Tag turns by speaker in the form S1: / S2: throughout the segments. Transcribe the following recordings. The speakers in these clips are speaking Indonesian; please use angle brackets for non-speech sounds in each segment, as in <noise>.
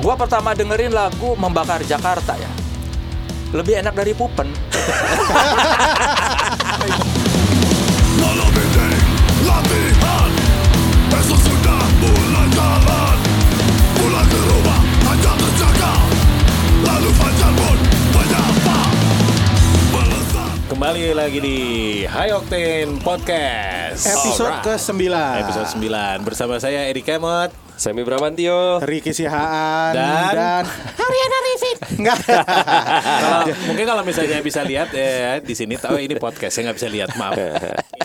S1: Gua pertama dengerin lagu Membakar Jakarta ya. Lebih enak dari Pupen.
S2: Malam ini latihan Besok sudah mulai jalan Pulang ke rumah hanya terjaga Lalu fajar pun menyapa Melesat
S3: Kembali lagi di High Octane Podcast
S4: Episode
S3: Alright.
S4: ke-9
S3: Episode 9 Bersama saya Eri Kemot
S5: <laughs> Semi Bramantio.
S4: Riki Sihaan
S3: Dan-
S4: dan Haryana Rifik Enggak
S3: Kalau- Mungkin kalau misalnya bisa lihat eh, di sini tahu ini podcast Saya nggak bisa lihat, maaf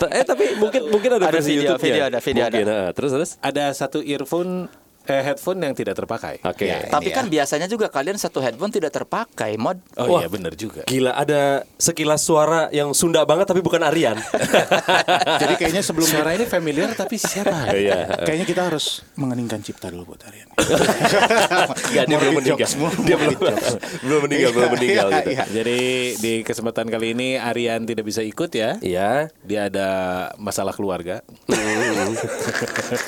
S5: T- <laughs> eh tapi mungkin mungkin ada,
S1: Ada
S5: versi
S1: video,
S5: YouTube-nya.
S1: video ada, video
S5: Mungkin, ah. terus terus.
S3: Ada satu earphone eh, headphone yang tidak terpakai
S5: Oke.
S3: Ya, ini
S1: Tapi
S3: ya.
S1: kan biasanya juga kalian satu headphone tidak terpakai mod.
S3: Oh
S5: Wah.
S3: iya bener juga
S5: Gila ada sekilas suara yang Sunda banget tapi bukan Aryan.
S4: Jadi kayaknya
S5: <laughs>
S4: sebelum
S3: Suara ini familiar tapi siapa?
S5: Iya.
S4: Kayaknya kita harus mengeningkan cipta dulu buat
S5: <laughs>
S4: Haryana
S5: Enggak, dia belum meninggal. Dia belum belum meninggal, belum
S3: <laughs>
S5: meninggal gitu.
S4: Iya.
S3: Jadi di kesempatan kali ini Aryan tidak bisa ikut ya
S5: Iya.
S3: Dia ada masalah keluarga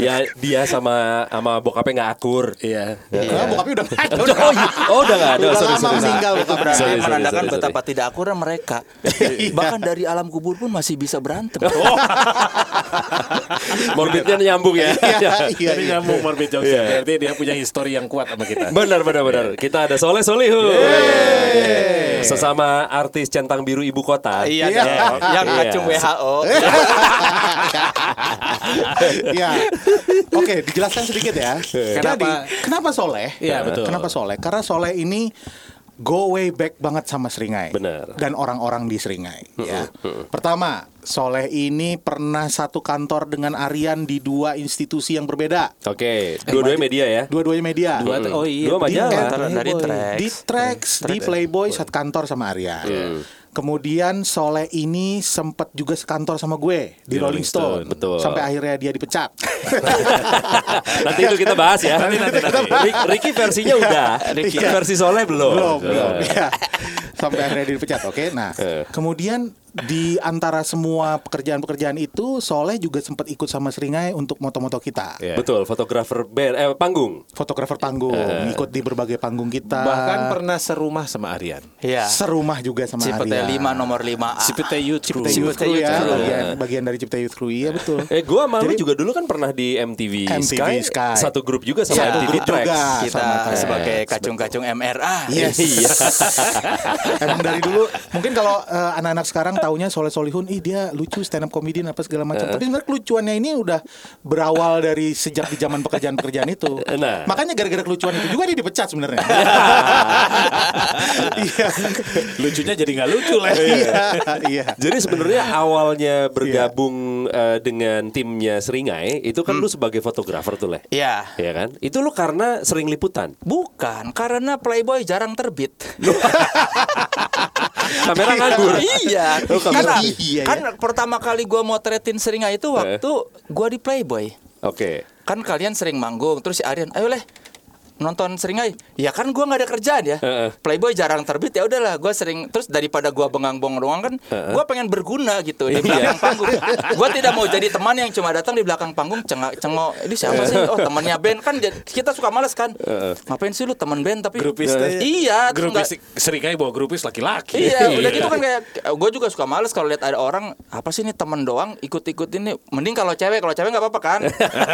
S5: Ya dia sama sama bokapnya nggak akur.
S3: <laughs> Iya
S4: Nah, bokapnya
S5: <laughs>
S4: udah nggak ada,
S5: Oh,
S4: udah nggak ada.
S5: iya.
S4: Udah
S5: Oh, udah nggak ada. Sorry,
S4: lama
S5: sorry, sorry.
S4: meninggal bokap Rana.
S5: Sorry, sorry,
S1: menandakan
S5: sorry, sorry.
S1: betapa tidak akurnya mereka. Bahkan dari alam kubur pun masih bisa berantem. <laughs>
S5: Morbidnya nyambung ya.
S4: Iya, iya,
S3: Tapi
S4: iya.
S3: nyambung morbid jokes
S5: Iya.
S3: Berarti dia punya histori yang kuat sama kita
S5: <laughs> Benar benar benar. Kita ada Soleh Solihun. Sesama artis centang biru ibu kota.
S1: Iya,
S4: Iya.
S1: dong. yang
S5: Iya.
S1: ngacung WHO.
S4: Ya. Oke, dijelaskan sedikit ya. Jadi,
S3: Kenapa-
S4: kenapa Soleh?
S3: Iya, betul.
S4: Kenapa Soleh? Karena Soleh ini go way back banget sama Seringai.
S5: Benar.
S4: Dan orang-orang di Seringai, ya. Pertama, Soleh ini pernah satu kantor dengan Aryan di dua institusi yang berbeda.
S5: Oke, dua-duanya
S3: Eh,
S5: media ya.
S4: Dua-duanya media.
S3: Dua tuh, oh iya
S5: Dua majalah.
S1: Antara
S4: Playboy.
S1: dari Trax.
S4: Di Trax, di Playboy
S3: Mm.
S4: satu kantor sama Arya. Kemudian Soleh ini sempat juga sekantor sama gue di,
S3: Rolling
S4: Rolling Stone.
S3: Stone,
S5: betul.
S4: Sampai akhirnya dia dipecat.
S3: <laughs>
S5: Nanti itu kita bahas ya.
S3: Nanti, nanti, nanti.
S5: Ri- Ricky versinya udah. Ricky
S4: Iya.
S5: versi Soleh belum.
S4: belum, belum. <laughs> ya. Sampai akhirnya dia dipecat. Oke, nah.
S5: Eh.
S4: Kemudian di antara semua pekerjaan-pekerjaan itu Soleh juga sempat ikut sama Seringai untuk moto-moto kita.
S3: Iya.
S5: Betul, fotografer band eh panggung.
S4: Fotografer panggung, ikut di berbagai panggung kita.
S3: Bahkan pernah serumah sama Aryan
S1: Iya.
S4: serumah juga sama
S1: Cipete
S4: Arya.
S1: 5 nomor 5 A.
S3: Cipete Youth Crew
S4: Cipta Youth
S1: Cipta
S4: Crew
S1: Youth
S4: ya,
S1: Crew.
S4: bagian, bagian dari Cipta Youth Crew, iya betul.
S5: Eh gua sama lu juga dulu kan pernah di MTV, Sky,
S4: MTV Sky. Iya,
S5: satu grup juga sama
S4: Satu
S5: MTV
S4: grup
S5: Trax.
S4: juga.
S1: Kita
S4: sama Trax.
S1: sebagai kacung-kacung MRA.
S4: Yes.
S5: Iya.
S4: <laughs> Emang dari dulu mungkin kalau eh, anak-anak sekarang taunya Soleh Solihun, ih dia lucu stand up comedian apa segala macam. Tapi sebenarnya kelucuannya ini udah berawal dari sejak di zaman pekerjaan-pekerjaan itu.
S5: Nah.
S4: Makanya gara-gara kelucuan itu juga dia dipecat sebenarnya. Iya.
S3: Lucunya jadi nggak lucu lah
S4: Iya. Iya.
S5: Jadi
S4: <laughs>
S5: sebenarnya awalnya bergabung eh, dengan timnya Seringai itu
S4: Hmm.
S5: kan lu sebagai fotografer tuh leh.
S1: Iya.
S5: Iya kan? Itu lu karena sering liputan.
S1: Bukan, karena Playboy jarang terbit.
S5: Kamera nganggur.
S1: iya.
S5: Oh, kamera.
S1: Karena
S4: Iya,
S1: kan pertama kali gua motretin Seringai itu waktu gua di Playboy.
S5: Oke.
S1: Kan kalian sering manggung, terus si Aryan, ayo leh nonton Seringai. Ya kan gua nggak ada kerjaan ya.
S5: Heeh.
S1: Playboy jarang terbit ya udahlah gua sering terus daripada gua bengang-bongong kan gua pengen berguna gitu di belakang panggung. gua tidak mau jadi teman yang cuma datang di belakang panggung cengok cengok. Ini siapa sih? Oh, temannya band kan jadi- kita suka males kan. Ngapain sih lu teman band tapi
S3: Grupis teh.
S1: Iya, terus
S3: Grupis
S1: nggak-
S3: Seringai bawa grupis laki-laki
S1: Iya, udah gitu kan kayak gue juga suka males kalau lihat ada orang apa sih ini temen doang ikut-ikut ini. Mending kalau cewek, kalau cewek nggak apa-apa kan,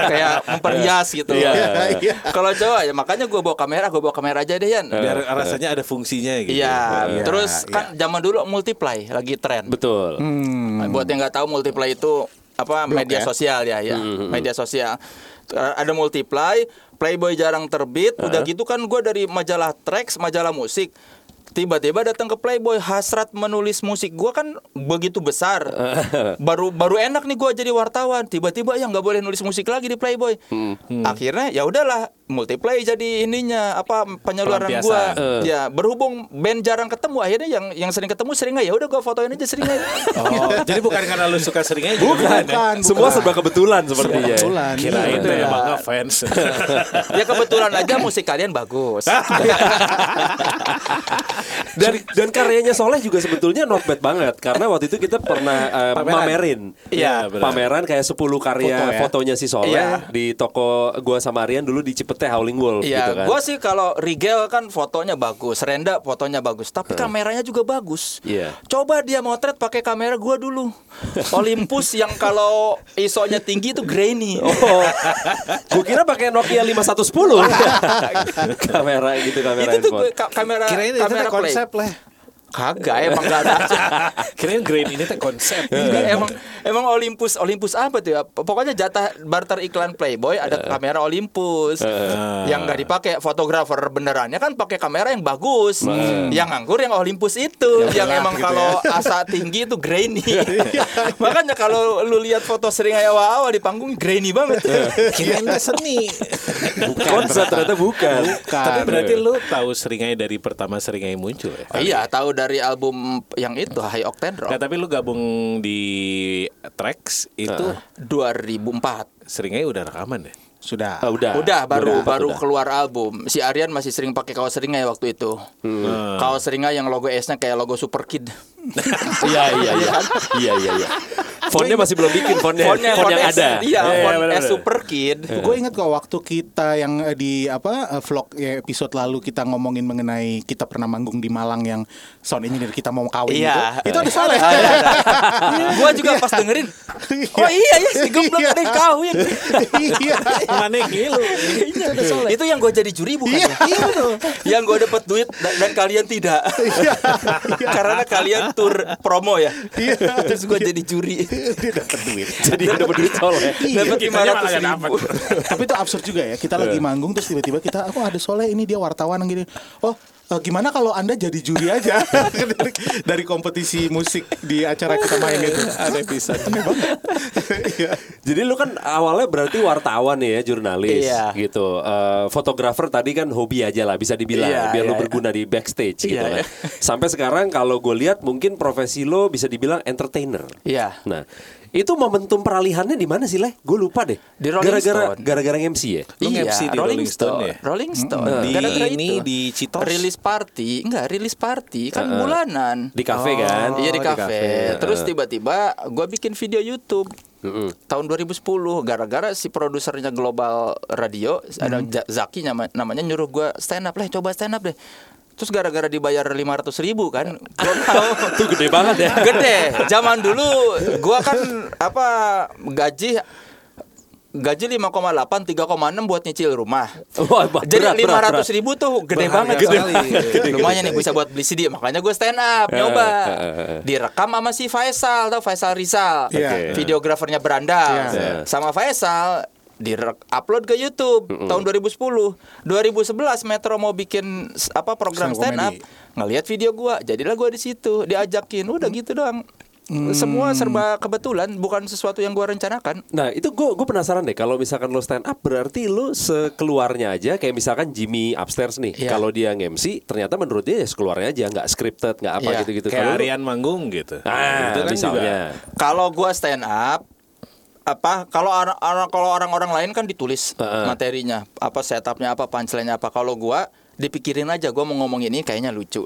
S1: kayak memperhias gitu.
S5: Iya.
S4: Iya.
S1: Kalau cowok ya makanya gue bawa kamera, gue bawa kamera aja deh Yan.
S3: Biar rasanya ada fungsinya gitu
S1: Iya, terus kan zaman dulu multiply lagi tren.
S5: Betul.
S1: Buat yang nggak tahu multiply itu apa media
S4: ya?
S1: sosial ya, ya media sosial. Eh, Ada multiply, Playboy jarang terbit. Udah gitu kan gue dari majalah Trax, majalah musik. Tiba-tiba datang ke Playboy hasrat menulis musik gue kan begitu besar. baru baru enak nih gue jadi wartawan. Tiba-tiba ya nggak boleh nulis musik lagi di Playboy. Akhirnya ya udahlah multiply jadi ininya apa penyaluran gue.
S3: Pelampiasan.
S1: Ya berhubung band jarang ketemu akhirnya yang yang sering ketemu sering ya udah gue fotoin aja sering
S3: Oh, jadi bukan karena lu suka gitu kan? Seringai
S4: Bukan, bukan.
S5: Semua serba kebetulan sepertinya.
S4: Kebetulan.
S3: Kira
S4: Iya.
S3: itu emang nggak fans
S5: Ah,
S1: <laughs> ya
S5: iya.
S1: kebetulan aja musik kalian bagus.
S5: <laughs> dan dan karyanya Soleh juga sebetulnya not bad banget karena waktu itu kita pernah eh,
S3: Pameran.
S5: mamerin
S3: Iya, benar.
S5: pameran kayak 10 karya
S3: Foto ya.
S5: fotonya si Soleh
S1: Iya.
S5: di toko gua sama Rian dulu di Cipete Howling Wolf gitu
S1: Iya,
S5: kan.
S1: gua sih kalau Rigel kan fotonya bagus, Renda fotonya bagus, tapi kameranya juga bagus.
S5: Eh. Iya.
S1: Coba dia motret pakai kamera gua dulu. Olympus yang kalau ISO-nya tinggi <laughs> itu grainy.
S5: Oh, <laughs> gua kira pakai Nokia
S1: <laughs>
S5: 5110 <laughs> kamera gitu kamera
S1: itu tuh
S5: handphone.
S1: ka- kamera
S4: Kirain itu
S1: kamera
S4: teh
S1: play.
S4: konsep lah.
S1: Kagak emang gak ada.
S3: <laughs>
S4: <laughs>
S3: Kirain green ini teh konsep.
S4: Iya.
S1: emang emang Olympus Olympus apa tuh ya? Pokoknya jatah barter iklan Playboy ada
S4: Iya.
S1: kamera Olympus yang nggak dipakai fotografer benerannya kan pakai kamera yang bagus, yang nganggur yang Olympus itu, yang
S4: Iya. gelap
S1: emang
S4: gitu Iya,
S1: kalau <laughs> asa tinggi itu grainy. Makanya kalau lu lihat foto seringai awal-awal di panggung grainy banget.
S4: Iya.
S3: Kirain teh seni.
S5: Konsep ternyata bukan. Iya.
S3: Tapi berarti lu tahu seringai dari pertama seringai muncul ya?
S5: Oh,
S1: iya, tahu dari album yang itu High Octane
S3: Nah,
S4: Iya.
S1: Rock
S3: tapi lu gabung di tracks itu
S1: 2004.
S3: seringai udah rekaman ya? deh.
S4: Sudah.
S5: Ah, udah.
S1: Udah baru
S5: Udah,
S1: baru
S5: udah.
S1: keluar album. Si Aryan masih sering pakai kaos seringai waktu itu. Kaos seringai yang logo S-nya kayak logo Super Kid.
S5: Iya iya iya. Iya iya iya. Fontnya masih belum bikin fontnya.
S1: kan? Fontnya-
S5: Font yang
S1: font S-
S5: ada.
S1: Iya,
S3: Iya, iya,
S1: font
S3: benar-benar.
S1: S Super Kid.
S5: Iya.
S4: Gue inget kok waktu kita yang eh, di apa eh, vlog ya, episode lalu kita ngomongin mengenai kita pernah manggung di Malang yang sound engineer kita mau kawin
S1: Iya.
S4: gitu. Itu ada soleh.
S1: Ah, iya, ada. Gua juga pas dengerin.
S5: <laughs>
S1: Oh iya ya si goblok
S4: Iya.
S1: ada yang kawin.
S4: Iya.
S3: Mana gitu.
S4: Itu ada Iya, soleh.
S1: Itu yang gue jadi juri bukan ya?
S4: Iya betul.
S1: Yang gue dapat duit dan, dan kalian tidak. Karena kalian tur promo ya.
S4: Iya.
S1: Terus gue jadi juri.
S4: Dia dapat duit. Iya.
S5: Jadi ada berdua soleh.
S1: Dapat
S3: Kitanya malah
S1: 500
S3: nggak
S1: ribu.
S4: Tapi itu absurd juga ya. Kita lagi manggung terus tiba-tiba kita aku ada soleh ini dia wartawan yang gini. Oh eh, gimana kalau anda jadi juri aja <laughs> dari, dari kompetisi musik di acara kita main gitu. itu?
S3: Ada pisan.
S4: Iya.
S5: Jadi lu kan awalnya berarti wartawan ya, jurnalis
S1: Iya.
S5: gitu. Eh, fotografer tadi kan hobi aja lah bisa dibilang
S1: Iya,
S5: biar lu
S1: iya,
S5: berguna di backstage gitu
S1: Iya, iya.
S5: kan. Sampai sekarang kalau gue lihat mungkin profesi lo bisa dibilang entertainer.
S1: Iya.
S5: Nah, itu momentum peralihannya di mana sih, Leh? Gue lupa deh.
S1: Di Rolling
S5: gara-gara
S1: Stone.
S5: gara-gara MC ya.
S3: Lu nge-MC di Rolling Stone ya?
S1: Rolling Iya, Stone.
S3: Di
S1: Gara-gara
S3: ini,
S1: itu.
S3: di Citos?
S1: Rilis party, enggak rilis party kan bulanan.
S5: Di kafe kan?
S1: Iya di
S5: Oh,
S1: kafe. Terus tiba-tiba gue bikin video YouTube. Tahun 2010 gara-gara si produsernya Global Radio ada Ja- Zaki nama- namanya nyuruh gue stand up lah coba stand up deh. Terus gara-gara dibayar 500 ribu kan Gua mau.
S5: Itu gede banget ya.
S1: Gede Zaman dulu gua kan apa gaji gaji 5,8 3,6 buat nyicil rumah.
S5: Wah, berat,
S1: Jadi
S5: berat,
S1: lima
S5: berat.
S1: ratus ribu tuh gede banget.
S4: Bahaya Gede.
S5: <laughs>
S1: sekali. Lumayan nih bisa buat beli CD. Makanya gue stand up
S5: Eh,
S1: nyoba. Direkam sama si Faisal tau Faisal Rizal,
S4: Iya.
S1: videografernya berandal.
S5: Iya.
S1: Sama Faisal direk upload ke YouTube tahun 2010, 2011 Metro mau bikin s- apa program
S4: Stand
S1: stand up,
S4: comedy.
S1: ngelihat video gua, jadilah gua di situ, diajakin, udah gitu doang. Semua serba kebetulan, bukan sesuatu yang gua rencanakan.
S5: Nah itu gue gue penasaran deh kalau misalkan lo stand up berarti lo sekeluarnya aja kayak misalkan Jimmy upstairs nih
S1: Iya.
S5: kalau dia nge-MC ternyata menurut dia ya sekeluarnya aja nggak scripted nggak apa
S1: Iya.
S5: gitu-gitu
S3: Kayak
S5: Kalau lo-
S3: Aryan Manggung gitu.
S5: ah
S3: itu kan juga <laughs>
S5: misalnya
S1: Kalau gua stand up apa kalau orang orang- kalau orang-orang lain kan ditulis materinya apa setupnya apa punchline apa kalau gua dipikirin aja gua mau ngomong ini kayaknya lucu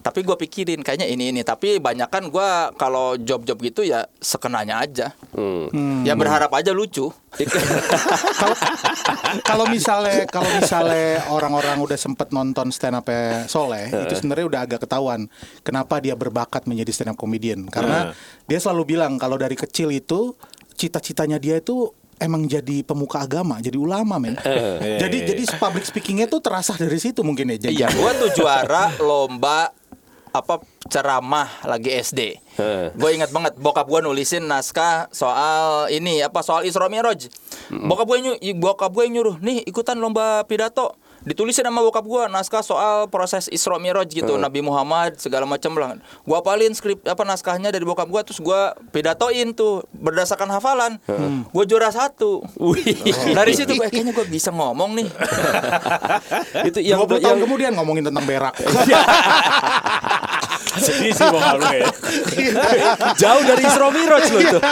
S1: tapi gua pikirin kayaknya ini ini tapi banyak kan gua kalau job-job gitu ya sekenanya aja ya berharap aja lucu
S4: Kalau- kalau misalnya kalau misalnya orang-orang udah sempet nonton stand up Soleh itu sebenarnya udah agak ketahuan kenapa dia berbakat menjadi stand up comedian karena dia selalu bilang kalau dari kecil itu cita-citanya dia itu emang jadi pemuka agama jadi ulama men
S5: iya,
S4: jadi jadi public speakingnya tuh terasah dari situ mungkin ya
S1: Iya,
S4: jadi
S1: gua tuh juara lomba apa ceramah lagi SD.
S5: Heeh.
S1: Gue ingat banget bokap gua nulisin naskah soal ini apa soal Isra Miraj. Bokap gue bokap gue nyuruh, "Nih, ikutan lomba pidato." Ditulisin sama bokap gua naskah soal proses Isra Miraj gitu, Nabi Muhammad segala macam lah. Gua apalin skrip apa naskahnya dari bokap gua terus gua pidatoin tuh berdasarkan hafalan. Gua juara satu. Dari situ gue kayaknya gue bisa ngomong nih.
S5: itu yang
S4: 20 tahun
S5: yang-
S4: kemudian ngomongin tentang berak
S3: Sedih sih bokap lu ya.
S1: <laughs>
S5: Jauh dari Isra Miraj lu tuh.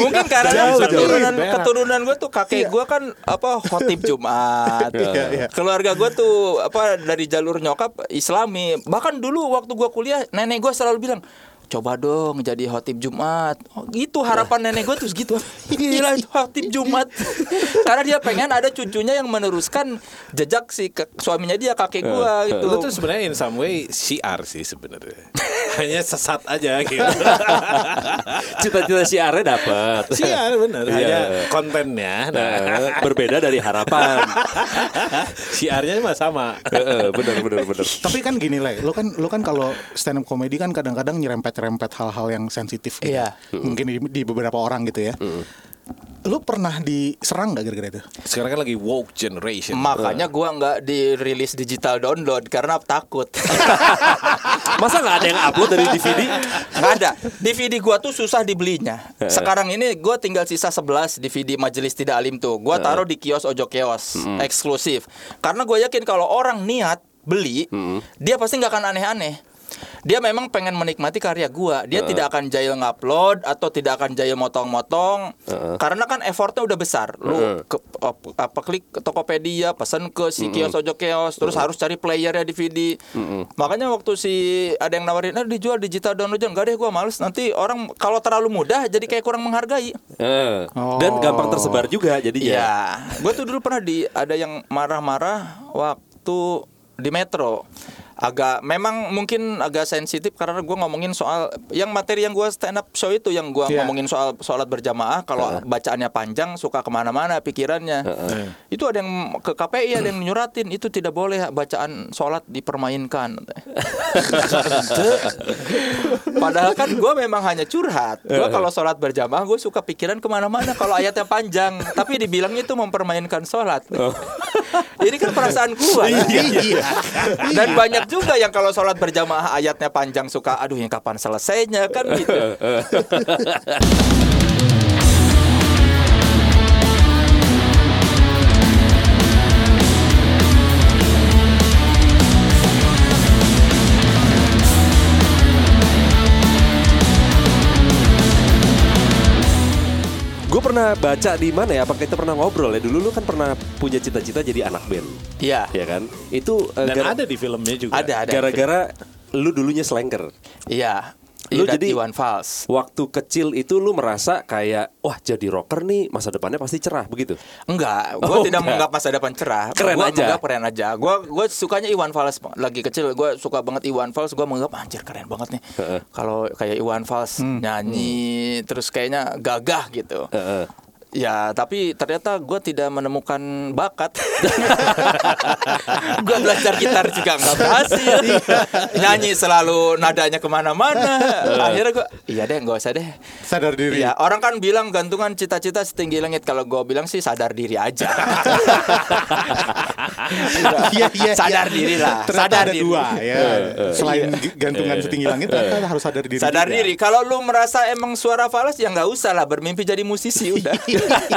S1: Mungkin karena
S5: Jauh, jauh.
S1: keturunan
S3: Berat.
S1: keturunan gue tuh kakek gue kan apa khotib Jumat.
S4: Iya, iya.
S1: Keluarga gue tuh apa dari jalur nyokap Islami. Bahkan dulu waktu gue kuliah nenek gue selalu bilang coba dong jadi khotib Jumat. Oh, gitu harapan nenek gue terus gitu. <laughs> Gila khotib Jumat. <laughs> Karena dia pengen ada cucunya yang meneruskan jejak si ke- suaminya dia kakek gue gitu.
S3: Iya. Lu tuh sebenarnya in some way syiar sih
S5: <laughs>
S3: sebenarnya. Hanya sesat aja gitu.
S5: <laughs> Cita-cita siarnya dapat. <laughs>
S3: Syiar bener.
S5: Iya.
S3: Hanya kontennya. Nah,
S5: Eh, berbeda dari
S3: <laughs>
S5: harapan. Eh,
S3: syiarnya mah sama.
S5: Heeh, benar benar benar.
S4: Tapi kan gini lah, lo kan lo kan kalau stand up comedy kan kadang-kadang nyerempet-nyerempet hal-hal yang sensitif. gitu.
S1: Iya.
S4: Mungkin di, di beberapa orang gitu ya. Lo pernah diserang nggak gara-gara itu?
S3: Sekarang kan lagi woke generation.
S1: Makanya gua nggak dirilis digital download karena takut. <laughs>
S5: Masa nggak ada yang upload dari DVD?
S1: Nggak ada. DVD gua tuh susah dibelinya. Sekarang ini gua tinggal sisa 11 DVD Majelis Tidak Alim tuh. Gua taruh di kios Ojo Kios eksklusif. Karena gue yakin kalau orang niat beli, dia pasti nggak akan aneh-aneh. Dia memang pengen menikmati karya gua. Dia tidak akan jahil ngupload atau tidak akan jahil motong-motong. Karena kan effortnya udah besar. Lu ke- op- apa klik ke Tokopedia, pesan ke si kios Ojo Kios, terus harus cari playernya DVD. Makanya waktu si ada yang nawarin, "Eh dijual digital download aja." Enggak deh, gua males. Nanti orang kalau terlalu mudah jadi kayak kurang menghargai.
S5: Heeh. Eh,
S3: Oh.
S5: Dan gampang tersebar juga jadinya.
S1: Iya. Gue tuh dulu pernah di ada yang marah-marah waktu di metro. Agak memang mungkin agak sensitif karena gue ngomongin soal yang materi yang gue stand up show itu yang gue
S4: Iya.
S1: ngomongin soal sholat berjamaah kalau bacaannya panjang suka kemana-mana pikirannya itu ada yang ke KPI ada yang nyuratin itu tidak boleh bacaan sholat dipermainkan Padahal kan gue memang hanya curhat. Gue kalau sholat berjamaah gue suka pikiran kemana-mana kalau ayatnya panjang. Tapi dibilang itu mempermainkan sholat.
S5: Oh.
S1: <laughs> Ini kan perasaan gue.
S5: Iya.
S1: Dan banyak juga yang kalau sholat berjamaah ayatnya panjang suka aduh yang kapan selesainya kan
S5: <laughs> Iya.
S1: gitu.
S5: Gue pernah baca di mana ya? Apa kita pernah ngobrol ya? Dulu lu kan pernah punya cita-cita jadi anak band,
S1: Iya.
S5: ya kan? Itu eh,
S3: Dan
S5: gara-
S3: ada di filmnya juga.
S1: Ada ada.
S5: gara-gara lu dulunya slanker.
S1: Iya.
S5: Lu
S1: Idat
S5: jadi-
S1: Iwan Fals.
S5: Waktu kecil itu lu merasa kayak wah jadi rocker nih masa depannya pasti cerah begitu.
S1: Enggak, gue
S5: Oh,
S1: tidak
S5: enggak.
S1: menganggap masa depan cerah.
S5: Keren
S1: gua
S5: aja.
S1: menganggap keren aja. Gue gue sukanya Iwan Fals lagi kecil. Gue suka banget Iwan Fals. Gue menganggap anjir keren banget nih. Kalau kayak Iwan Fals
S5: Hmm.
S1: nyanyi, terus kayaknya gagah gitu.
S5: Heeh.
S1: Ya, tapi ternyata gue tidak menemukan
S5: <laughs>
S1: bakat. gue belajar gitar juga nggak
S5: <laughs>
S1: berhasil.
S5: Iya.
S1: Nyanyi selalu nadanya kemana-mana. Akhirnya gue, iya deh, nggak usah deh.
S4: Sadar diri.
S1: Iya, orang kan bilang gantungan cita-cita setinggi langit. Kalau gue bilang sih sadar diri
S4: <laughs>
S1: aja.
S4: Iya, iya,
S1: sadar
S4: iya.
S1: diri lah.
S4: Ternyata
S1: sadar
S4: ada
S1: diri. Iya.
S4: dua ya. Selain gantungan setinggi langit, ternyata harus sadar diri. ya.
S1: Sadar
S4: juga.
S1: diri. Kalau lu merasa emang suara falas ya nggak usah lah bermimpi jadi musisi udah.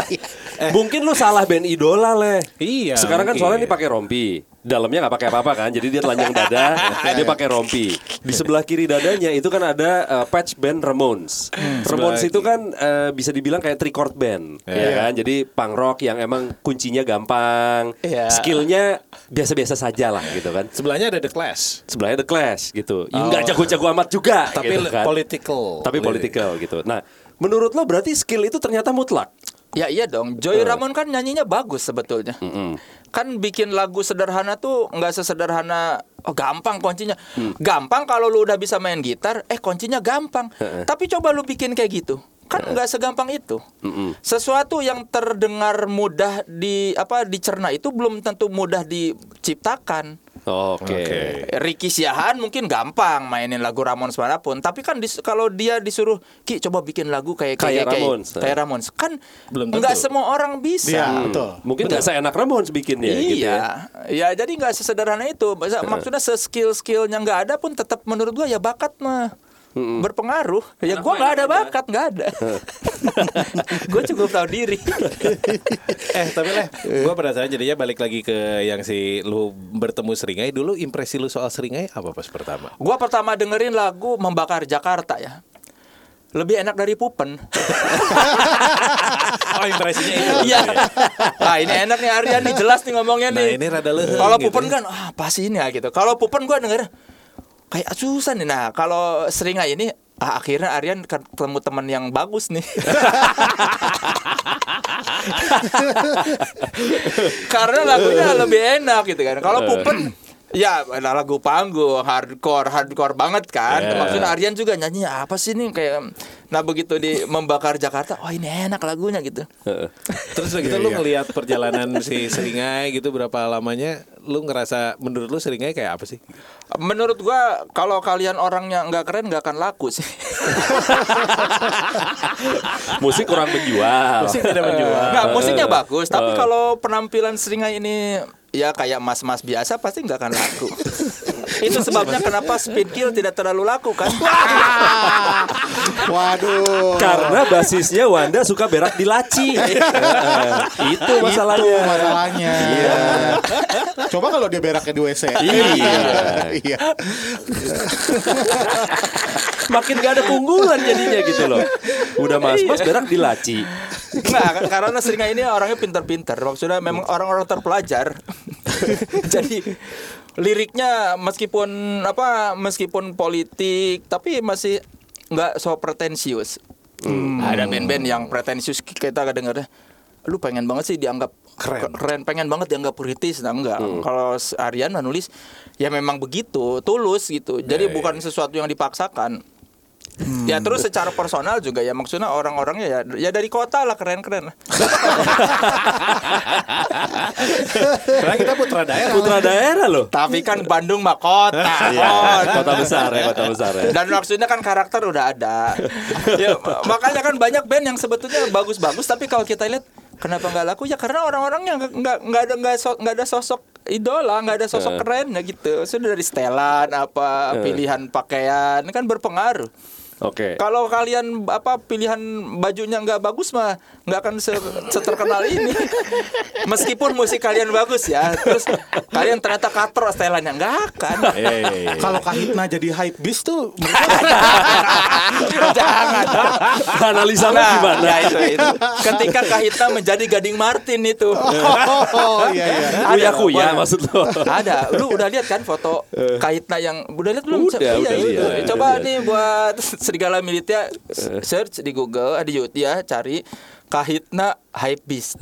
S4: <laughs>
S5: Mungkin lu salah band idola leh.
S3: Eh. Iya,
S5: Sekarang kan
S3: mungkin.
S5: soalnya ini pakai rompi. Dalamnya nggak pakai apa-apa kan. Jadi dia telanjang dada,
S3: <laughs>
S5: dia pakai
S3: Iya.
S5: rompi. Di sebelah kiri dadanya itu kan ada eh, patch band Ramones. Ramones
S3: Hmm, sebelah- Iya.
S5: itu kan eh, bisa dibilang kayak three chord band, ya kan. Jadi punk rock yang emang kuncinya gampang,
S1: Iya.
S5: skillnya biasa-biasa saja lah gitu kan.
S3: Sebelahnya ada The Clash.
S5: Sebelahnya The Clash gitu. Ya, Nggak jago-jago amat juga.
S3: Oh. Tapi
S5: gitu kan.
S3: political.
S5: Tapi political gitu. Nah, menurut lo berarti skill itu ternyata mutlak.
S1: ya iya dong. Joy Ramon kan nyanyinya bagus sebetulnya. Kan bikin lagu sederhana tuh nggak sesederhana oh, gampang kuncinya. Gampang kalau lu udah bisa main gitar, eh kuncinya gampang. Tapi coba lu bikin kayak gitu. Kan nggak segampang itu. Sesuatu yang terdengar mudah di apa dicerna itu belum tentu mudah diciptakan.
S5: Oke.
S1: Eh, Ricky Siahan mungkin gampang mainin lagu Ramones manapun, tapi kan dis- kalau dia disuruh Ki coba bikin lagu kayak kayak
S5: Kayak
S1: kayak
S5: Ramones." eh."
S1: kayak Ramones kan
S3: Belum tentu.
S1: nggak semua orang bisa.
S4: Iya, betul.
S5: Mungkin nggak seenak Ramones bikinnya
S1: iya,
S5: gitu ya.
S1: ya jadi nggak sesederhana itu. Masa- Maksudnya seskill skillnya nggak ada pun tetap menurut gua ya bakat mah. berpengaruh. Ya gue nggak ada bakat, nggak
S5: <laughs>
S1: ada. gue cukup tahu diri.
S3: eh tapi lah gue penasaran jadinya balik lagi ke yang si lu bertemu seringai dulu impresi lu soal seringai apa pas pertama
S1: Gua pertama dengerin lagu Membakar Jakarta ya. Lebih enak dari Pupen.
S3: <laughs> oh impresinya <laughs> itu
S1: <laughs> Iya. nah, ini enak nih Aryan nih jelas nih ngomongnya
S3: Nah,
S1: nih.
S3: ini rada leheng
S1: Kalau
S3: gitu.
S1: Pupen kan ah pasti ini ya gitu. Kalau Pupen gua denger kayak susah nih. Nah, kalau Seringai ini ah, akhirnya Aryan ketemu teman yang bagus nih. <laughs> Karena lagunya lebih enak gitu kan. Kalau Pupen Ya, nah, lagu panggung, hardcore, hardcore banget kan.
S3: Iya.
S1: Maksudnya Aryan juga nyanyinya apa sih nih kayak nah begitu di membakar Jakarta, oh ini enak lagunya gitu.
S3: terus gitu lu ngelihat <laughs> perjalanan si seringai gitu berapa lamanya lu ngerasa menurut lu seringai kayak apa sih
S1: Menurut gua kalau kalian orangnya nggak keren nggak akan laku sih.
S5: Musik kurang menjual. Eh.
S3: Musik tidak
S5: Iya.
S3: menjual.
S1: Nggak musiknya bagus, tapi kalau penampilan seringai ini ya kayak mas-mas biasa pasti nggak akan laku. Itu sebabnya kenapa speed kill tidak terlalu laku kan?
S4: Waduh.
S5: Karena basisnya Wanda suka berak di
S1: <laughs>
S5: laci.
S1: Iya.
S5: Eh, itu
S4: Itu
S5: masalahnya.
S4: masalahnya. Iya. Coba kalau dia beraknya di WC.
S5: Iya.
S4: Iya.
S5: Makin gak ada keunggulan jadinya gitu loh. Udah mas-mas
S1: Iya.
S5: berak di laci.
S1: Nggak, Nah, karena seringai ini orangnya pinter-pinter. Maksudnya memang orang-orang terpelajar. <laughs> Jadi liriknya meskipun apa meskipun politik tapi masih nggak so pretensius. Ada band-band yang pretensius kita kedengarnya lu pengen banget sih dianggap keren, pengen banget dianggap kritis nah enggak kalau S- Aryan menulis ya memang begitu tulus gitu jadi bukan sesuatu yang dipaksakan
S5: Hmm.
S1: Ya terus secara personal juga ya maksudnya orang-orangnya ya ya dari kota lah keren-keren.
S3: karena kita putra daerah
S5: Putra daerah loh.
S1: Tapi kan <laughs> Bandung mah kota.
S5: <laughs>
S1: kota.
S5: Iya, Kota besar ya, kota besar ya.
S1: Dan maksudnya kan karakter udah
S5: <laughs>
S1: ada. ya, makanya kan banyak band yang sebetulnya bagus-bagus tapi kalau kita lihat kenapa nggak laku ya karena orang-orangnya nggak- nggak nggak ada nggak so- nggak ada sosok idola nggak ada
S5: Eh.
S1: sosok keren ya gitu sudah dari setelan apa pilihan pakaian kan berpengaruh
S5: Oke.
S1: Eh. kalau kalian apa pilihan bajunya nggak bagus mah nggak akan se seterkenal ini <laughs> meskipun musik kalian bagus ya terus kalian ternyata katro setelannya nggak
S5: <laughs>
S1: akan
S5: Eh,
S4: Kalau Kahitna jadi hype beast <laughs> tuh
S1: <laughs> jangan
S5: Analisa lu gimana?
S1: ya itu, itu. ketika kahita menjadi gading martin
S5: <laughs>
S1: itu
S4: Oh iya iya.
S1: Ada
S5: Kuya
S1: loh,
S5: kuya
S1: Bang.
S5: maksud lo.
S1: ada lu udah lihat kan foto kahitna yang udah lihat belum
S5: Eh. Udah, udah
S1: itu.
S5: lihat, Eh.
S1: coba
S5: udah
S1: nih buat serigala militia search di Google eh, di YouTube ya cari kahitna hype beast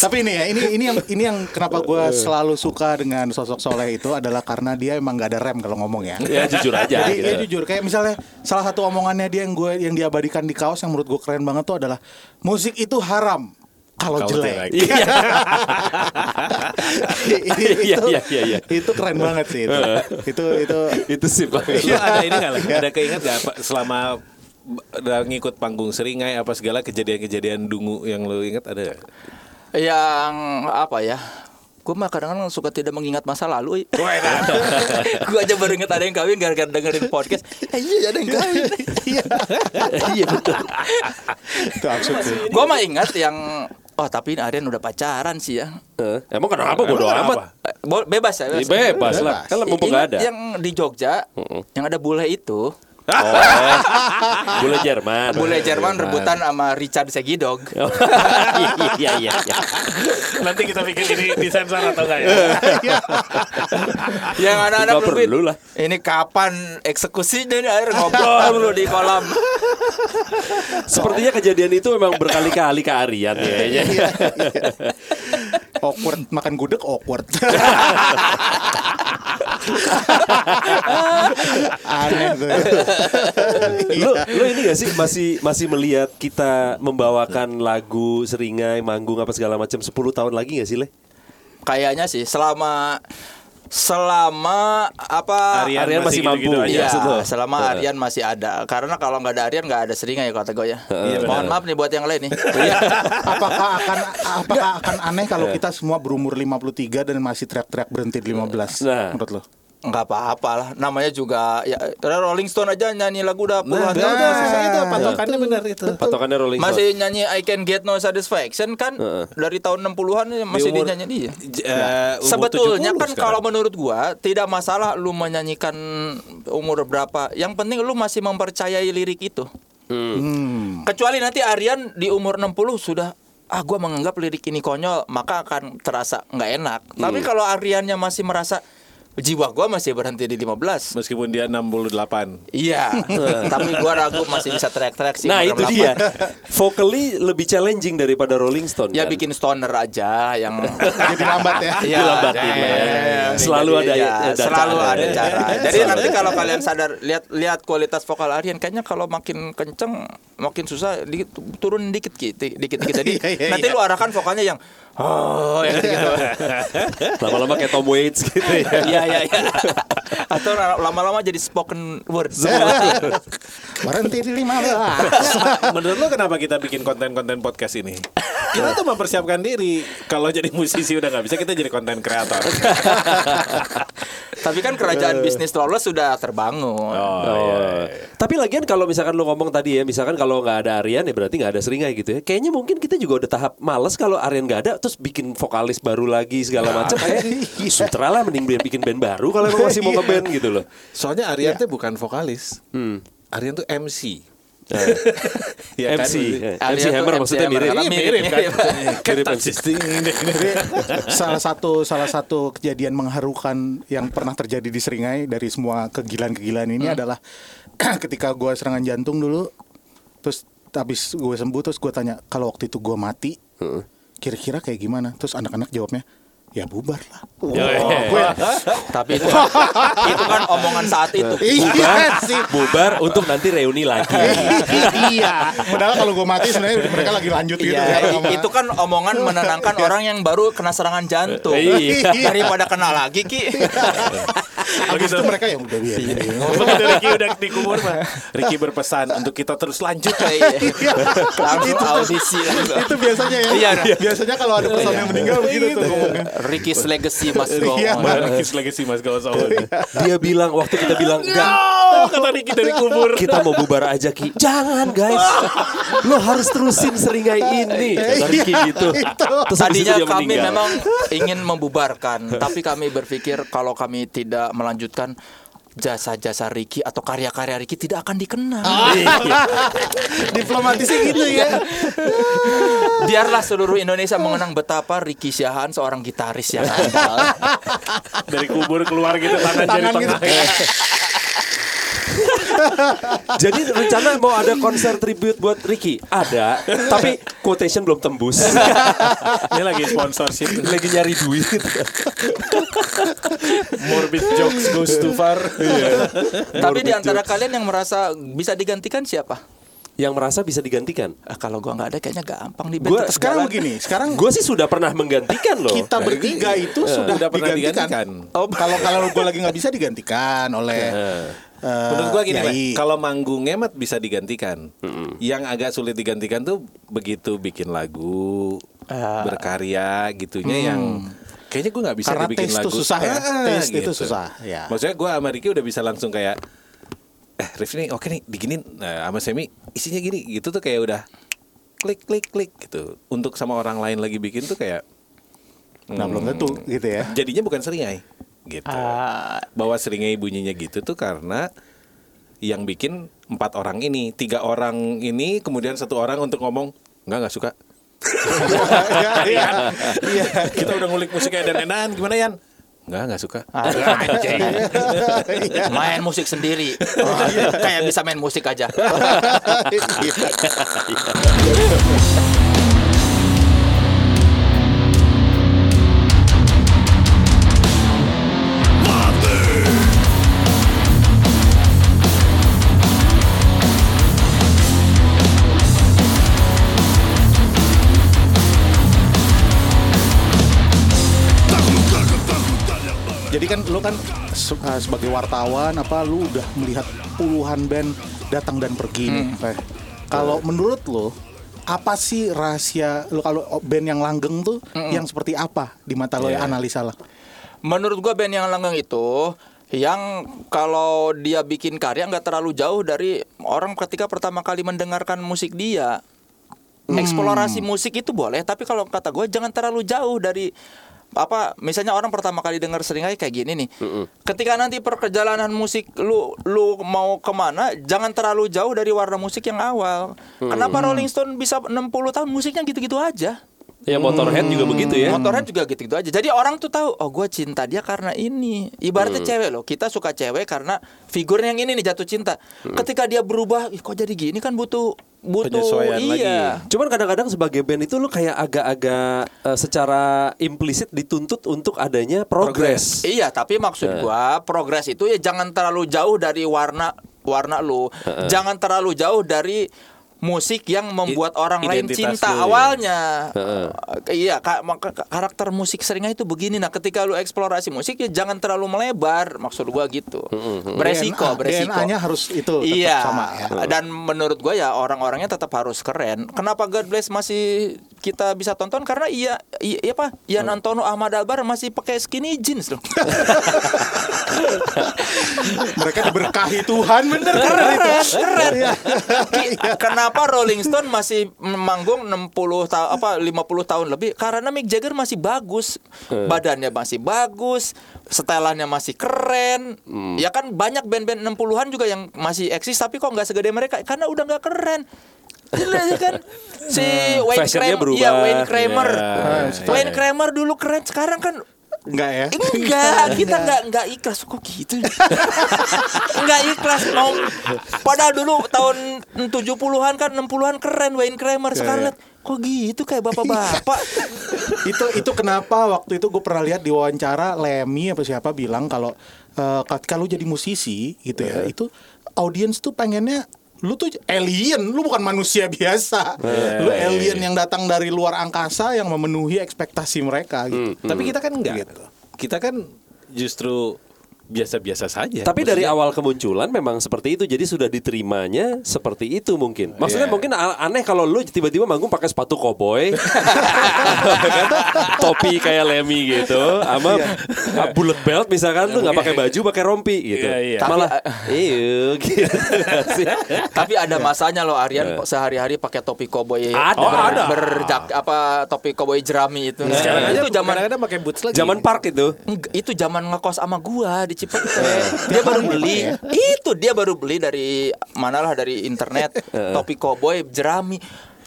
S4: Tapi ini ya, ini ini yang ini yang kenapa
S5: Eh.
S4: gue selalu suka dengan sosok Soleh itu adalah karena dia emang gak ada rem kalau ngomong ya.
S5: Ya jujur aja
S4: Jadi ya
S5: gitu.
S4: jujur kayak misalnya salah satu omongannya dia yang gue yang diabadikan di kaos yang menurut gue keren banget tuh adalah musik itu haram kalau
S3: Kalau Oh,
S4: jelek. <laughs>
S3: jelek.
S5: Iya. <laughs> Iya,
S4: itu,
S5: iya, iya, iya.
S4: itu keren banget sih itu. itu itu
S5: Itu sih Pak.
S3: Lu ada ini nggak lah? Ada keinget nggak apa- selama b- udah ngikut panggung seringai apa segala kejadian-kejadian dungu yang lu inget ada nggak?
S1: yang apa ya gue mah kadang-kadang suka tidak mengingat masa lalu gue aja baru inget ada yang kawin gara-gara dengerin podcast eh, iya ada yang kawin
S5: <laughs> Iya betul.
S4: itu absurd sih.
S1: gue mah ingat yang oh tapi ini Aryan udah pacaran sih ya
S5: Eh, Emang kenapa bodo
S3: Emang kenapa?
S5: amat?
S1: Eh, bo- bebas ya
S5: Ya, Bebas lah. Kan mumpung
S1: Ingat
S5: gak ada.
S1: yang di Jogja yang ada bule itu
S5: Bule Jerman.
S1: bule Jerman rebutan sama Richard Segidog
S5: <laughs> Ya, Iya iya iya.
S3: Nanti kita bikin ini di sensor atau enggak ya?
S1: yang anak-anak
S5: Nggak
S1: berbuit,
S5: perlu lah.
S1: ini kapan eksekusinya nih air ngobrol dulu di kolam
S5: Sepertinya kejadian itu memang berkali-kali ya. ke Aryan kayaknya.
S4: awkward makan gudeg
S5: <laughs>
S4: awkward aneh tuh
S5: Lu lu ini gak sih masih masih melihat kita membawakan lagu seringai manggung apa segala macam 10 tahun lagi gak sih, Le?
S1: kayaknya sih selama selama apa
S3: Aryan
S5: Aryan masih
S3: masih
S5: mampu.
S3: gitu-gitu aja.
S1: Iya,
S5: maksud lo?
S1: selama Aryan masih ada. Karena kalau nggak ada Aryan nggak ada seringai ya kata gue ya. Mohon maaf nih buat yang lain nih.
S4: apakah akan apakah akan aneh kalau kita semua berumur 53 dan masih teriak-teriak berhenti di 15
S5: Nah.
S4: menurut lo
S1: nggak apa-apa lah namanya juga ya Rolling Stone aja nyanyi lagu udah puluhan
S4: Nah,
S1: tahun
S4: udah,
S1: masih-
S4: susah itu patokannya benar itu.
S5: Patokannya Rolling Stone.
S1: masih nyanyi I Can Get No Satisfaction kan
S5: Heeh.
S1: dari tahun 60-an masih
S3: umur-
S1: dinyanyi dia
S3: J- eh, umur
S1: Sebetulnya
S3: 70
S1: kan
S3: sekarang.
S1: kalau menurut gua tidak masalah lu menyanyikan umur berapa. Yang penting lu masih mempercayai lirik itu. Kecuali nanti Aryan di umur 60 sudah ah gua menganggap lirik ini konyol, maka akan terasa nggak enak. Tapi kalau Aryannya masih merasa jiwa gua masih berhenti di 15.
S3: meskipun dia 68
S1: Iya, <laughs> tapi gua ragu masih bisa track-track sih.
S5: Nah
S1: umur
S5: itu
S1: 68.
S5: dia Vocally lebih challenging daripada Rolling Stone
S1: Ya
S5: kan?
S1: bikin stoner aja yang
S6: Jadi lambat ya.
S1: Iya,
S5: Dilambatin
S1: iya,
S5: ya.
S1: iya,
S5: Selalu
S1: jadi,
S5: ada-
S1: iya,
S5: ada
S1: selalu
S5: cara.
S1: ada cara. Jadi nanti kalau kalian sadar lihat lihat kualitas vokal Aryan kayaknya kalau makin kenceng makin susah dikit, turun dikit dikit dikit dikit. Jadi
S6: Iya, iya,
S1: nanti
S6: iya.
S1: lu arahkan vokalnya yang oh ya gitu.
S5: Lama-lama kayak Tom Waits gitu ya
S1: Iya iya iya. <laughs> Atau lama-lama jadi spoken word.
S6: Berhenti di
S4: Iya.
S6: 15.
S3: <laughs> Menurut lo kenapa kita bikin konten-konten podcast ini? Kita tuh mempersiapkan diri. Kalau jadi musisi udah nggak bisa, kita jadi konten kreator.
S1: Tapi kan kerajaan bisnis lawless sudah terbangun.
S5: Oh. Tapi lagian kalau misalkan lo ngomong tadi ya, misalkan kalau nggak ada Aryan ya berarti nggak ada Seringai gitu ya. Kayaknya mungkin kita juga udah tahap males kalau Aryan nggak ada, terus bikin vokalis baru lagi segala macam. Kayak sutra lah mending biar bikin band baru kalau emang masih mau ke band gitu loh.
S3: Soalnya Aryan tuh bukan vokalis. Aryan tuh MC. Ya kan?
S5: MC, eh, MC
S1: Aryan tuh
S5: Hammer
S1: MC
S5: maksudnya
S1: Hammer,
S5: mirip.
S1: karena
S3: Iya,
S1: mirip, mirip.
S5: Mirip MC.
S4: <laughs> Jadi, salah satu salah satu kejadian mengharukan yang pernah terjadi di Seringai dari semua kegilaan-kegilaan ini adalah <clears throat> ketika gua serangan jantung dulu terus habis gue sembuh terus gue tanya kalau waktu itu gua mati kira-kira kayak gimana terus anak-anak jawabnya ya bubar lah
S1: Tapi itu, itu kan omongan saat itu.
S6: Iya sih.
S5: Bubar untuk nanti reuni lagi. Gitu.
S6: Iya.
S4: padahal kalau gue mati sebenarnya mereka lagi lanjut gitu
S1: Iya,
S4: kan, sama-
S1: i- itu kan omongan menenangkan orang yang baru kena serangan jantung.
S5: Iya.
S1: Daripada kena lagi ki.
S4: Iya.
S5: Gitu.
S4: abis itu mereka yang udah iya, biar
S5: Iya.
S3: Begitu Ricky udah dikubur mah. Ricky berpesan untuk kita terus lanjut.
S1: Iya. Langsung audisi langsung.
S4: kan itu biasanya ya
S1: Iya, iya.
S4: biasanya kalau ada pesan yang meninggal begitu tuh ya. ngomongnya
S1: Ricky's legacy mas go
S4: Iya,
S1: on.
S3: Ricky lagi sih Mas Gawasawan.
S5: Dia bilang waktu kita bilang enggak
S3: Oh, kata Ricky dari kubur.
S5: kita mau bubar aja Ki. Jangan guys. Lo harus terusin seringai ini.
S4: Iya,
S5: Kata Ricky gitu. Terus habis itu
S1: Tadinya
S5: dia
S1: kami
S5: meninggal.
S1: memang ingin membubarkan, tapi kami berpikir kalau kami tidak melanjutkan jasa-jasa Ricky atau karya-karya Ricky tidak akan dikenal.
S6: Diplomatisnya gitu ya.
S1: Biarlah seluruh Indonesia mengenang betapa Ricky Syahan seorang gitaris ya. yang andal.
S3: Dari kubur keluar gitu tangan,
S6: Tangan
S3: jari
S6: gitu.
S3: tengah.
S5: <laughs> Jadi rencana mau ada konser tribute buat Ricky ada, tapi quotation belum <laughs> tembus.
S3: Ini lagi sponsorship.
S5: Lagi nyari duit.
S3: Morbid jokes goes too far.
S1: <laughs>
S5: Iya.
S1: Tapi di antara kalian yang merasa bisa digantikan siapa?
S5: Yang merasa bisa digantikan.
S1: Eh, kalau gua nggak ada kayaknya gampang di
S5: Ah, Gua-
S1: band
S5: <laughs>
S1: terus
S4: sekarang
S1: jalan.
S4: begini sekarang
S5: Gue sih sudah pernah menggantikan loh.
S4: kita bertiga itu sudah,
S3: Udah pernah
S4: digantikan.
S3: digantikan.
S4: Oh, kalau kalau gue lagi nggak bisa digantikan oleh eh,
S3: Menurut gua gini, Pak.
S4: Yai.
S3: kalau manggungnya mah bisa digantikan. Yang agak sulit digantikan tuh begitu bikin lagu,
S4: Ah.
S3: berkarya gitunya yang kayaknya gua nggak bisa
S4: Hmm. Karena
S3: deh bikin
S4: taste
S3: lagu.
S4: tuh susah ya,
S3: Ah,
S4: taste itu susah, ya.
S3: Maksudnya gua sama Ricky udah bisa langsung kayak eh Rif nih oke nih diginin nah, sama Semi isinya gini gitu tuh kayak udah klik klik klik gitu. Untuk sama orang lain lagi bikin tuh kayak
S4: nah belum tentu gitu ya.
S3: jadinya bukan seringai gitu
S4: Ah.
S3: bahwa seringai bunyinya gitu tuh karena yang bikin empat orang ini tiga orang ini kemudian satu orang untuk ngomong nggak nggak suka
S4: Iya, <laughs> iya.
S3: iya <laughs> kita udah ngulik musiknya dan enan gimana Yan nggak nggak suka
S1: main musik sendiri. Kayak bisa main musik aja.
S4: <laughs> Iya. Jadi kan lu kan se- eh, sebagai wartawan apa lu udah melihat puluhan band datang dan pergi nih.
S1: Hmm.
S4: Feh. Kalau menurut lu apa sih rahasia lu kalau band yang langgeng
S1: Hmm. Iya.
S4: tuh yang seperti apa di mata lo ya analisa lah.
S1: Menurut gua band yang langgeng itu yang kalau dia bikin karya nggak terlalu jauh dari orang ketika pertama kali mendengarkan musik dia. Eksplorasi musik itu boleh, tapi kalau kata gue jangan terlalu jauh dari apa misalnya orang pertama kali dengar seringai kayak gini nih ketika nanti perjalanan musik lu lu mau kemana jangan terlalu jauh dari warna musik yang awal kenapa Rolling Stone bisa 60 tahun musiknya gitu-gitu aja
S5: Ya Motorhead juga begitu ya.
S4: Hmm,
S1: Motorhead juga gitu-gitu aja. Jadi orang tuh tahu, oh gue cinta dia karena ini. Ibaratnya cewek loh, kita suka cewek karena figurnya yang ini nih jatuh cinta. Ketika dia berubah, "Ih, kok jadi gini kan butuh butuh
S3: Penyesuaian
S1: iya.
S5: Cuman kadang-kadang sebagai band itu lu kayak agak-agak eh, secara implisit dituntut untuk adanya progres.
S1: Iya, tapi maksud gua progres itu ya jangan terlalu jauh dari warna warna lu. Jangan terlalu jauh dari musik yang membuat orang lain
S3: identitas
S1: cinta
S3: lu, ya.
S1: awalnya. Eh, Iya, ka- maka- ka- karakter musik seringnya itu begini. Nah, ketika lu eksplorasi musik ya jangan terlalu melebar, maksud gua gitu. Beresiko,
S4: DNA,
S1: beresiko.
S4: DNA -nya harus itu tetap
S1: iya.
S4: sama ya.
S1: Dan menurut gua ya orang-orangnya tetap harus keren. Kenapa God Bless masih kita bisa tonton karena iya iya, iya apa? Ian
S4: Hmm.
S1: Antono Ahmad Albar masih pakai skinny jeans loh.
S4: Mereka
S1: <laughs>
S4: diberkahi Tuhan bener kan? keren itu. Keren. Iya.
S1: Ki- Kenapa Rolling Stone masih manggung 60 tahun apa 50 tahun lebih? Karena Mick Jagger masih bagus,
S5: Eh.
S1: badannya masih bagus, setelannya masih keren.
S5: Hmm.
S1: Ya kan banyak band-band 60-an juga yang masih eksis tapi kok nggak segede mereka karena udah nggak keren. Jelas ya kan si Wayne
S5: Hmm. Fashionnya
S1: Kramer,
S5: berubah.
S1: iya, Wayne Kramer.
S3: Iya,
S1: Wayne Kramer dulu keren, sekarang kan
S4: Enggak ya? <laughs>
S1: Enggak, gitu. kita enggak enggak ikhlas kok gitu. <laughs> enggak ikhlas mau padahal dulu tahun 70-an kan 60-an keren Wayne Kramer sekarang liat, kok gitu kayak bapak-bapak.
S4: itu itu kenapa waktu itu gue pernah lihat di wawancara Lemmy apa siapa bilang kalau eh, ketika lu jadi musisi gitu ya itu audiens tuh pengennya lu tuh alien lu bukan manusia biasa lu alien yang datang dari luar angkasa yang memenuhi ekspektasi mereka gitu
S3: Tapi kita kan enggak. Kita kan justru biasa-biasa saja.
S5: Tapi dari awal kemunculan memang seperti itu, jadi sudah diterimanya seperti itu mungkin. Maksudnya
S3: Iya.
S5: mungkin a- aneh kalau lu tiba-tiba manggung pakai sepatu koboi, <laughs> topi kayak Lemmy gitu, sama uh, bullet belt misalkan tuh nggak pakai baju, pakai rompi gitu.
S3: Iya, iya. eh,
S5: Malah iya
S3: <laughs>
S5: gitu.
S1: <laughs> Tapi ada masanya loh Aryan sehari-hari pakai topi koboi. ber-
S5: Ada. Oh, ada.
S1: berjak apa topi koboi jerami itu.
S3: Sekarang aja
S1: itu zaman
S3: kadang-kadang pakai boots lagi.
S5: Zaman park itu.
S1: Enggak, itu zaman ngekos sama gua di Cipete. dia baru beli. Itu dia baru beli dari manalah dari internet topi koboi jerami.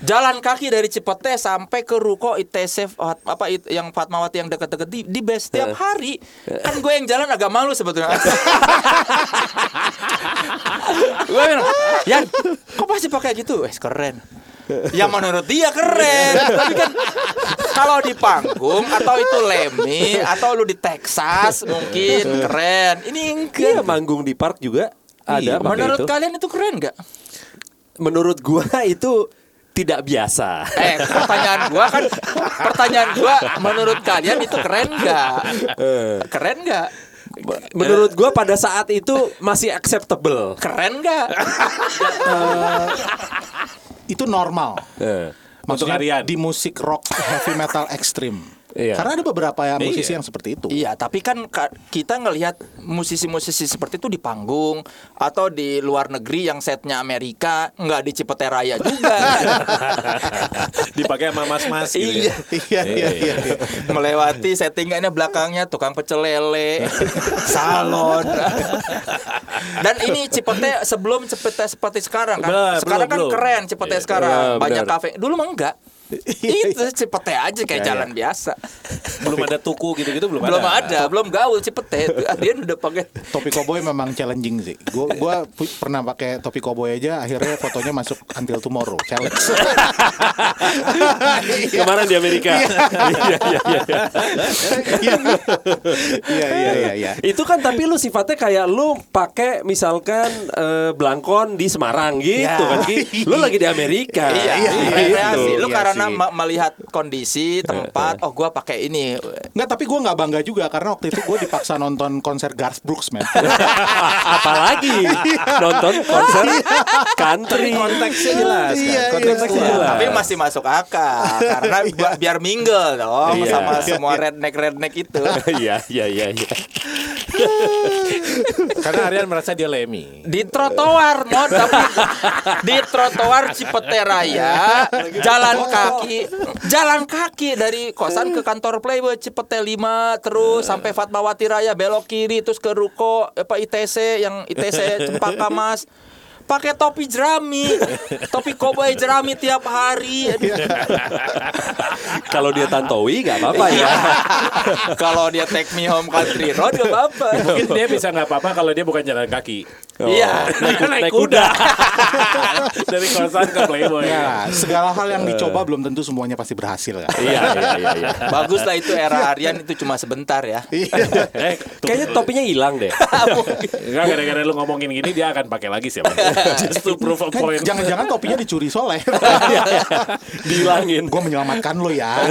S1: Jalan kaki dari Cipete sampai ke ruko ITC Fat- apa it- yang Fatmawati yang deket-deket di, di base tiap hari. Kan gue yang jalan agak malu sebetulnya. gue bilang, Yan, kok pasti pakai gitu? Wes keren. Ya menurut dia keren, tapi kan kalau di panggung atau itu Lemmy atau lu di Texas mungkin keren. Ini
S5: Iya,
S1: enggak. Iya.
S5: manggung di park juga
S3: Iya,
S5: ada. pakai
S1: menurut
S5: itu.
S1: kalian itu keren nggak?
S5: menurut gua <laughs> itu tidak biasa.
S1: Eh, pertanyaan gua kan pertanyaan gua menurut kalian itu keren nggak?
S5: Eh.
S1: Keren nggak?
S5: Menurut gua pada saat itu masih
S1: <laughs>
S5: acceptable.
S1: Keren nggak?
S4: itu normal
S5: Eh.
S3: Untuk
S4: maksudnya
S3: Aryan.
S4: di musik rock heavy metal ekstrim
S5: Iya.
S4: karena ada beberapa ya musisi yang seperti itu
S1: Iya, tapi kan ka- kita ngelihat musisi-musisi seperti itu di panggung atau di luar negeri yang setnya Amerika, nggak di Cipete Raya juga.
S3: <laughs>
S1: Kan?
S3: dipakai sama mas-mas gitu.
S1: Iya.
S4: iya iya iya
S1: Melewati settingannya belakangnya tukang pecel lele, salon. Dan ini Cipete sebelum Cipete seperti sekarang kan.
S3: Belum,
S1: sekarang
S3: belum,
S1: kan
S3: belum.
S1: keren Cipete sekarang,
S5: Iya,
S1: banyak
S5: benar.
S1: kafe. Dulu mah enggak. Itu Cipete aja kayak jalan biasa.
S3: Belum ada tuku gitu-gitu belum,
S1: Belum ada,
S3: ada.
S1: belum gaul Cipete. <laughs> Dia udah pakai
S4: topi koboi memang challenging sih. Gua gua pu- pernah pakai topi koboi aja akhirnya fotonya masuk until tomorrow challenge.
S5: Kemarin di Amerika. <laughs> Iya, iya, iya, iya.
S4: Iya iya iya iya.
S5: Itu kan tapi lu sifatnya kayak lu pakai misalkan eh, belangkon di Semarang gitu kan Ki. Lu lagi di Amerika.
S1: Iya,
S5: Gitu.
S1: rekreasi. Lu
S4: Iya
S1: karena
S4: sih.
S1: ma- melihat kondisi tempat, oh gua pakai ini.
S4: Nggak, tapi gua nggak bangga juga karena waktu itu gua dipaksa nonton konser Garth Brooks, man.
S5: <laughs> Apalagi nonton konser
S3: <laughs>
S5: country.
S3: Konteksnya jelas kan.
S4: Iya,
S3: Konteksnya
S5: iya.
S3: jelas.
S1: Tapi masih masuk akal karena bi- biar mingle dong
S5: Iya.
S1: sama semua redneck redneck itu.
S5: Iya, iya, iya, iya.
S3: Karena Aryan merasa dia Lemmy.
S1: di trotoar mon tapi di trotoar Cipete Raya jalan kaki jalan kaki dari kosan ke kantor Playboy Cipete 5 terus sampai Fatmawati Raya belok kiri terus ke ruko apa ITC yang ITC Cempaka Mas pakai topi jerami topi koboi jerami tiap hari
S5: Kalau dia tantowi nggak apa-apa ya.
S1: Iya. kalau dia take me home country road gak apa-apa
S3: Mungkin <laughs> dia bisa nggak apa-apa kalau dia bukan jalan kaki.
S1: iya
S3: Naik, naik kuda. <laughs> Iya. Dari kosan ke Playboy.
S4: Ya, segala hal yang dicoba belum tentu semuanya pasti berhasil kan.
S3: Iya, iya, iya, iya.
S1: bagus lah itu era Aryan itu cuma sebentar ya
S3: Eh,
S5: Kayaknya topinya hilang deh.
S3: Enggak gara-gara lu ngomongin gini dia akan pakai lagi <laughs> sih. Bang. Just to prove a
S4: Kan
S3: point.
S4: Jangan-jangan topinya dicuri soleh.
S5: Dihilangin.
S4: Gue menyelamatkan lo ya.